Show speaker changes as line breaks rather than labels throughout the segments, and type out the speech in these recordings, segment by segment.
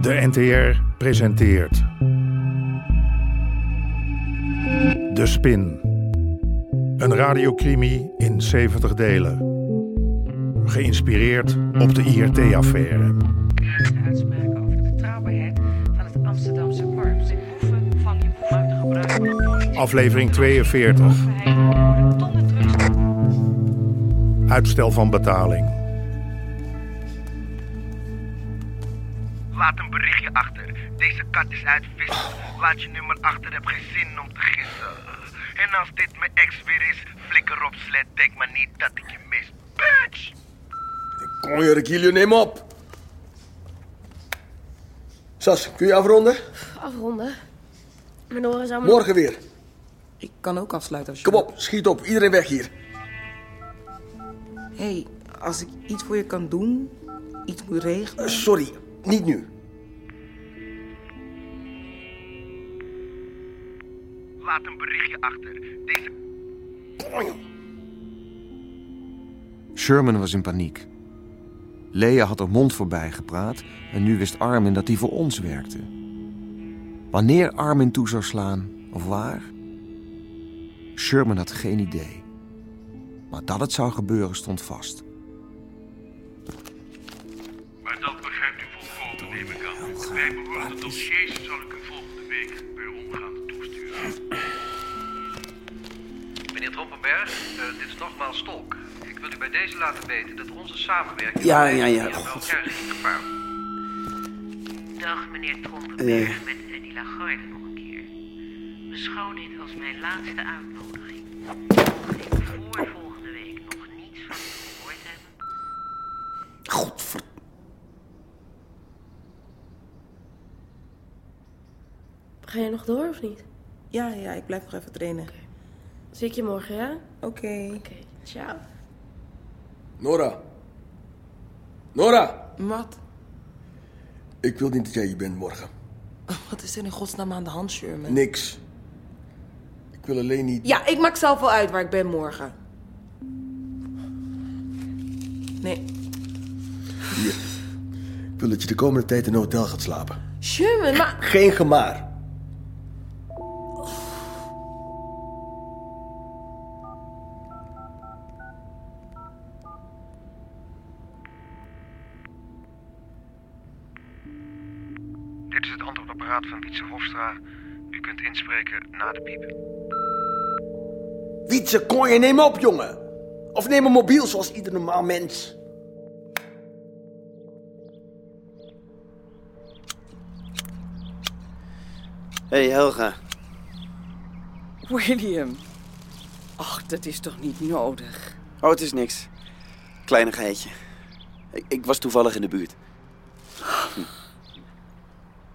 De NTR presenteert. De Spin. Een radiocrimi in 70 delen. Geïnspireerd op de IRT-affaire.
uitspraken over de betrouwbaarheid van het Amsterdamse korps. In hoeven van je hoeven te gebruiken.
Aflevering 42. Uitstel van betaling.
Laat een berichtje achter. Deze kat is uit vissen. Laat je nummer achter, heb geen zin om te gissen. En als dit mijn ex weer is, flikker op, slet. Denk maar niet dat ik je mis. Bitch!
Kom Jurk, jullie neem op. Sas, kun je afronden?
afronden. Mijn oren zou me...
Morgen weer.
Ik kan ook afsluiten als je...
Kom op, schiet op. Iedereen weg hier.
Hé, hey, als ik iets voor je kan doen, iets moet regelen...
Eh, Sorry, niet nu.
Laat een berichtje achter. Deze
Kom, joh.
Sherman was in paniek. Lea had haar mond voorbij gepraat en nu wist Armin dat hij voor ons werkte. Wanneer Armin toe zou slaan of waar? Sherman had geen idee. Maar dat het zou gebeuren stond vast.
Maar dat begrijpt u volkomen, neem ik aan. Wij behoren dossiers, zal ik u volgende week per omgaande toesturen. Meneer Troppenberg, eh, dit is nogmaals Stolk. Ik wil u bij deze laten weten dat onze samenwerking...
Ja, ja, ja,
...hier bij
god.
elkaar is gevaar.
Dag meneer Trompenberg met Eddie Lagarde nog een keer. Beschouw dit als mijn laatste uitnodiging. Mocht ik voor volgende week nog niets van u gehoord hebben...
Godver...
Ga je nog door of niet?
Ja, ja, ik blijf nog even trainen.
Zie ik je morgen, ja? Oké,
Oké.
ciao.
Nora. Nora.
Wat?
Ik wil niet dat jij hier bent morgen.
Wat is er in godsnaam aan de hand, Sherman?
Niks. Ik wil alleen niet...
Ja, ik maak zelf wel uit waar ik ben morgen. Nee.
Hier. Ik wil dat je de komende tijd in een hotel gaat slapen.
Sherman, maar...
Geen gemaar.
Dit is het antwoordapparaat van Wietse Hofstra. U kunt inspreken na de piep.
Wietse, kon je neem op, jongen. Of neem een mobiel zoals ieder normaal mens.
Hé hey Helga,
William. Ach, dat is toch niet nodig?
oh het is niks. Kleinigheidje. Ik, ik was toevallig in de buurt. Hm.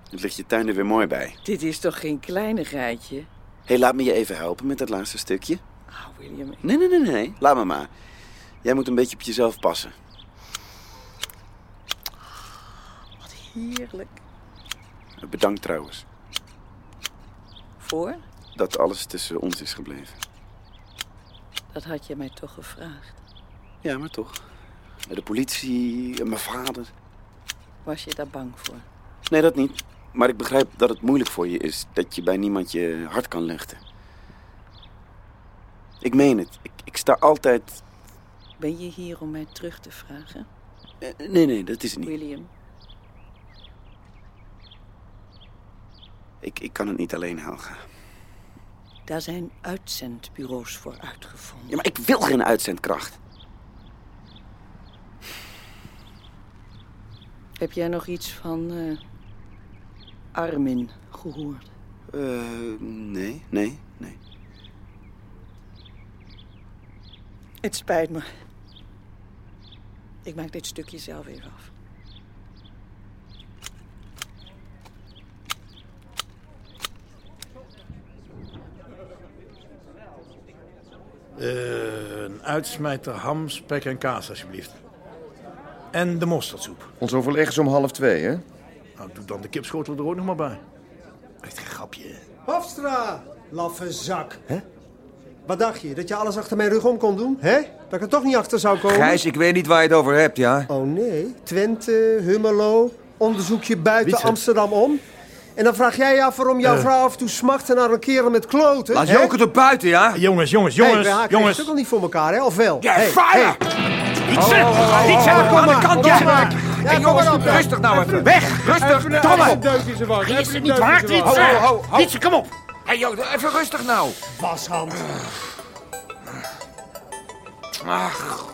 Het ligt je tuin er weer mooi bij.
Dit is toch geen kleinigheidje?
Hé, hey, laat me je even helpen met dat laatste stukje.
Ah, William, ik-
Nee, nee, nee, nee. Laat me maar. Jij moet een beetje op jezelf passen.
wat heerlijk.
Bedankt trouwens.
Voor?
Dat alles tussen ons is gebleven.
Dat had je mij toch gevraagd.
Ja, maar toch. De politie, mijn vader.
Was je daar bang voor?
Nee, dat niet. Maar ik begrijp dat het moeilijk voor je is dat je bij niemand je hart kan luchten. Ik meen het. Ik, ik sta altijd.
Ben je hier om mij terug te vragen?
Eh, Nee, nee, dat is het niet.
William,
Ik, ik kan het niet alleen, Helga.
daar zijn uitzendbureaus voor uitgevonden.
Ja, maar ik wil geen uitzendkracht.
Heb jij nog iets van eh, Armin gehoord?
Eh, nee, nee, nee.
Het spijt me. Ik maak dit stukje zelf even af.
Een uitsmijter ham, spek en kaas, alsjeblieft. En de mosterdsoep.
Ons overleg is om half twee, hè?
Nou, doe dan de kipschotel er ook nog maar bij. Echt een grapje.
Hofstra, laffe zak. Wat dacht je, dat je alles achter mijn rug om kon doen? hè? Dat ik er toch niet achter zou komen?
Oh.
Oh,
Gijs, ik weet niet waar je het over hebt, ja?
Oh nee, Twente, Hummelo,
onderzoek je buiten
Wietse.
Amsterdam om. En dan vraag jij je af waarom jouw
Eh.
vrouw af en toe smacht naar een kerel met kloten.
Laat
hè?
Joker er buiten, ja?
Jongens, jongens,
Hey, we haken het stuk al niet voor elkaar, hè? Of wel?
Ja,
hey,
fire! Wietse! Wietse, aan de kant,
jij
Wietse! Hey, jongens, rustig nou even. Weg! Rustig, domme! Is het niet waar, Wietse? Ho, ho, ho. Wietse, kom op! Hey, joh, even rustig nou.
Washand.
Ach.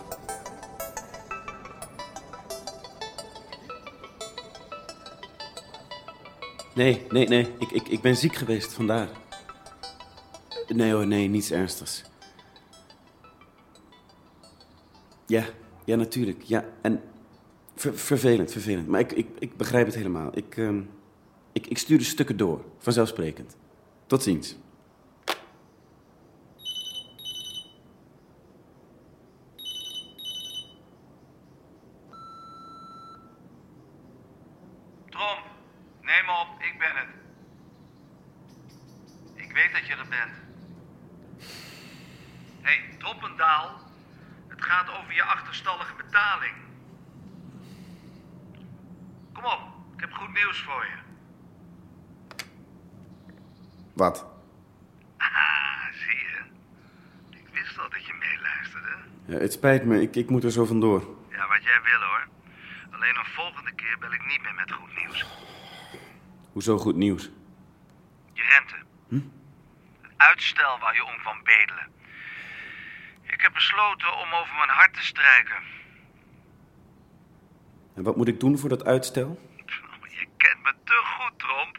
Nee, nee, nee. Ik, ik, ik ben ziek geweest vandaar. Nee hoor, nee, niets ernstigs. Ja, ja, natuurlijk. Ja, en ver- vervelend, vervelend. Maar ik, ik, ik begrijp het helemaal. Ik, ehm, ik, ik stuur de stukken door, vanzelfsprekend. Tot ziens.
Tom, neem me op, ik ben het. Ik weet dat je er bent. Hé, hey, Droppendaal, het gaat over je achterstallige betaling. Kom op, ik heb goed nieuws voor je.
Wat?
Ah, zie je. Ik wist al dat je meeluisterde.
Ja, het spijt me, ik, ik moet er zo vandoor.
Ja, wat jij wil hoor. Alleen een volgende keer bel ik niet meer met goed nieuws.
Hoezo goed nieuws?
Je rente.
Hm?
Het uitstel waar je om van bedelen. Ik heb besloten om over mijn hart te strijken.
En wat moet ik doen voor dat uitstel?
Oh, Je kent me te goed, Tromp.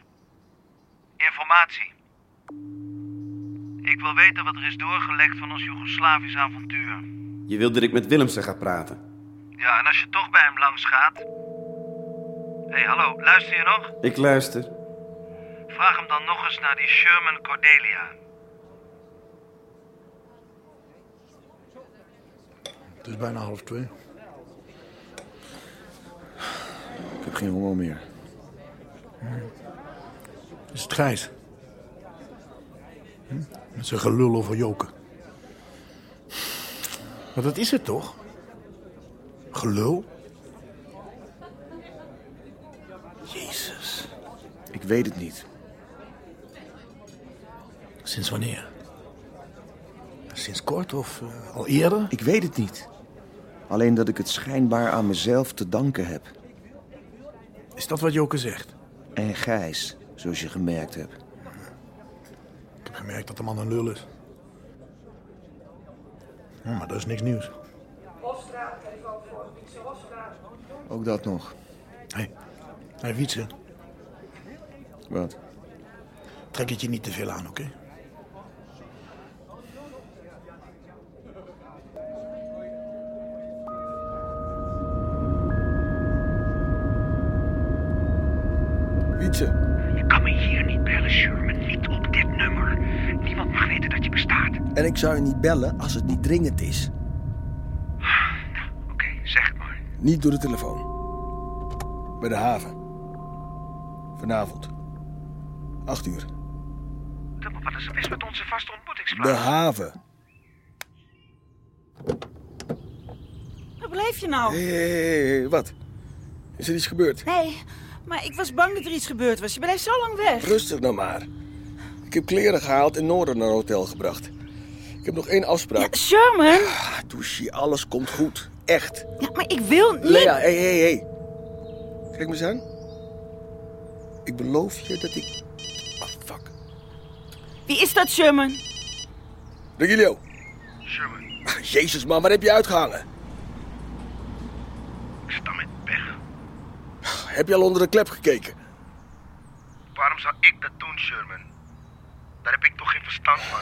Informatie. Ik wil weten wat er is doorgelekt van ons Joegoslavisch avontuur.
Je wil dat ik met Willemsen ga praten.
Ja, en als je toch bij hem langs gaat. Hé, hey, hallo, luister je nog?
Ik luister.
Vraag hem dan nog eens naar die Sherman Cordelia.
Het is bijna half twee.
Ik heb geen honger meer.
Is het Gijs? Hm? Met zijn gelul over Joken. Maar dat is het toch? Gelul? Jezus.
Ik weet het niet.
Sinds wanneer? Sinds kort of eh, al eerder?
Ik weet het niet. Alleen dat ik het schijnbaar aan mezelf te danken heb.
Is dat wat Joke zegt?
En Gijs, zoals je gemerkt hebt.
Ik heb gemerkt dat de man een lul is. Ja, maar dat is niks nieuws.
Ook dat nog.
Hé, hey, Wietse,
Wat?
trek het je niet te veel aan, oké?
Wietse.
Je kan me hier niet bellen, Sherman. Niet op dit nummer. Niemand mag weten dat je bestaat.
En ik zou je niet bellen als het niet dringend is.
Oké, zeg het maar.
Niet door de telefoon. Bij de haven. Vanavond. Acht uur.
Wat is er mis met onze vaste ontmoetingsplaats?
De haven.
Waar bleef je nou?
Hé, hé, hé, hé, wat? Is er iets gebeurd?
Nee, maar ik was bang dat er iets gebeurd was. Je blijft zo lang weg.
Rustig nou maar. Ik heb kleren gehaald en Noorden naar hotel gebracht. Ik heb nog één afspraak.
Sherman?
Douche, alles komt goed. Echt.
Ja, maar ik wil niet...
Lea, hé, hé, hé. Kijk me eens aan. Ik beloof je dat ik...
Wie is dat, Sherman?
Regilio. Ah,
Sherman.
Jezus, man, waar heb je uitgehangen? Ik sta met pech. Heb je al onder de klep gekeken?
Waarom zou ik dat doen, Sherman? Daar heb ik toch geen verstand van.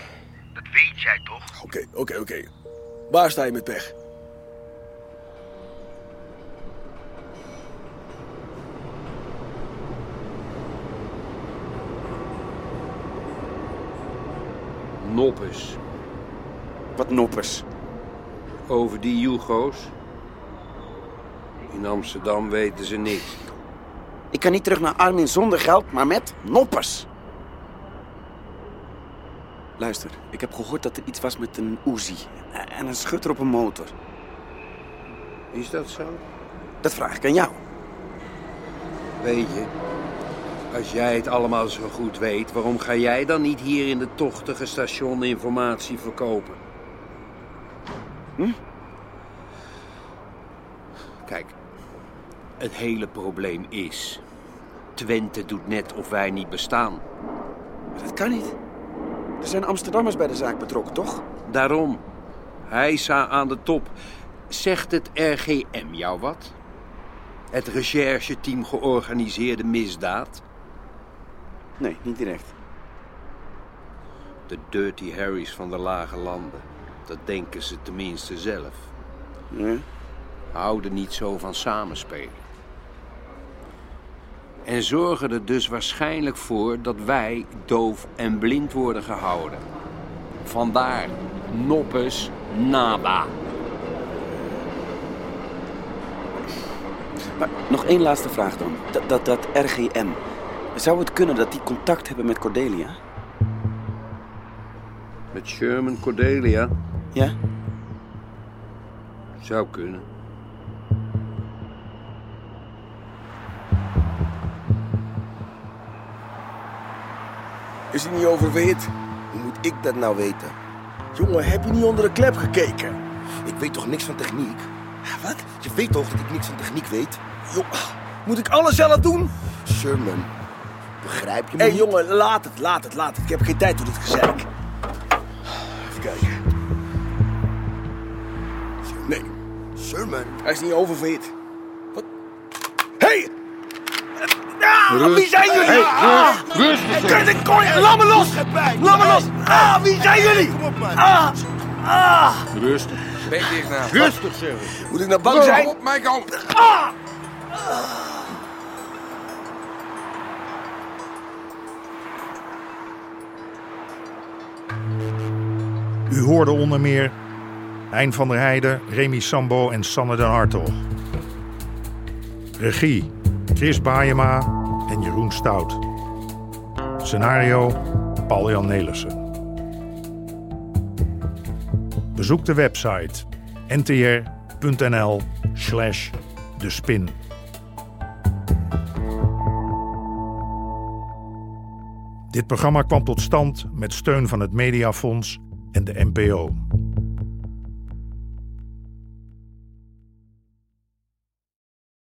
Dat weet jij toch?
Oké, oké, oké. Waar sta je met pech?
Noppers.
Wat noppers?
Over die Jugo's? In Amsterdam weten ze niks.
Ik kan niet terug naar Armin zonder geld, maar met noppers. Luister, ik heb gehoord dat er iets was met een Uzi en een schutter op een motor.
Is dat zo?
Dat vraag ik aan jou.
Weet je, als jij het allemaal zo goed weet, waarom ga jij dan niet hier in de tochtige station informatie verkopen? Hm? Kijk, het hele probleem is. Twente doet net of wij niet bestaan.
Dat kan niet. Er zijn Amsterdammers bij de zaak betrokken, toch?
Daarom. Heisa aan de top. Zegt het RGM jou wat? Het rechercheteam georganiseerde misdaad?
Nee, niet direct.
De Dirty Harrys van de lage landen. Dat denken ze tenminste zelf.
Nee.
Houden niet zo van samenspelen. En zorgen er dus waarschijnlijk voor dat wij doof en blind worden gehouden. Vandaar noppes nada.
Maar nog één laatste vraag dan. Dat, dat, dat RGM. Zou het kunnen dat die contact hebben met Cordelia?
Met Sherman Cordelia?
Ja?
Zou kunnen.
Is hij niet overweerd? Hoe moet ik dat nou weten? Jongen, heb je niet onder de klep gekeken? Ik weet toch niks van techniek? Wat? Je weet toch dat ik niks van techniek weet? Joh, moet ik alles zelf doen? Sherman, begrijp je me
Hé
niet?
jongen, laat het, laat het, laat het. Ik heb geen tijd voor dit gezeik.
Even kijken. Nee, Sherman.
Hij is niet oververhit. Wat? Hé! Hey! Ah, wie
Rust.
zijn jullie?
Hey,
ah,
rust, rust, rust.
Kut, ik kon je- Laat me los! Laat me los! Ah, wie zijn jullie? Ah, ah!
Rustig.
Bek dicht nou.
Rustig,
zeg.
Moet ik nou bang zijn?
Op mijn kant.
U hoorde onder meer Hein van der Heijden, Remy Sambo en Sanne den Hartog. Regie Chris Baayema en Jeroen Stout. Scenario Paul-Jan Nelissen. Bezoek de website ntr.nl slash de spin. Dit programma kwam tot stand met steun van het Mediafonds en de NPO.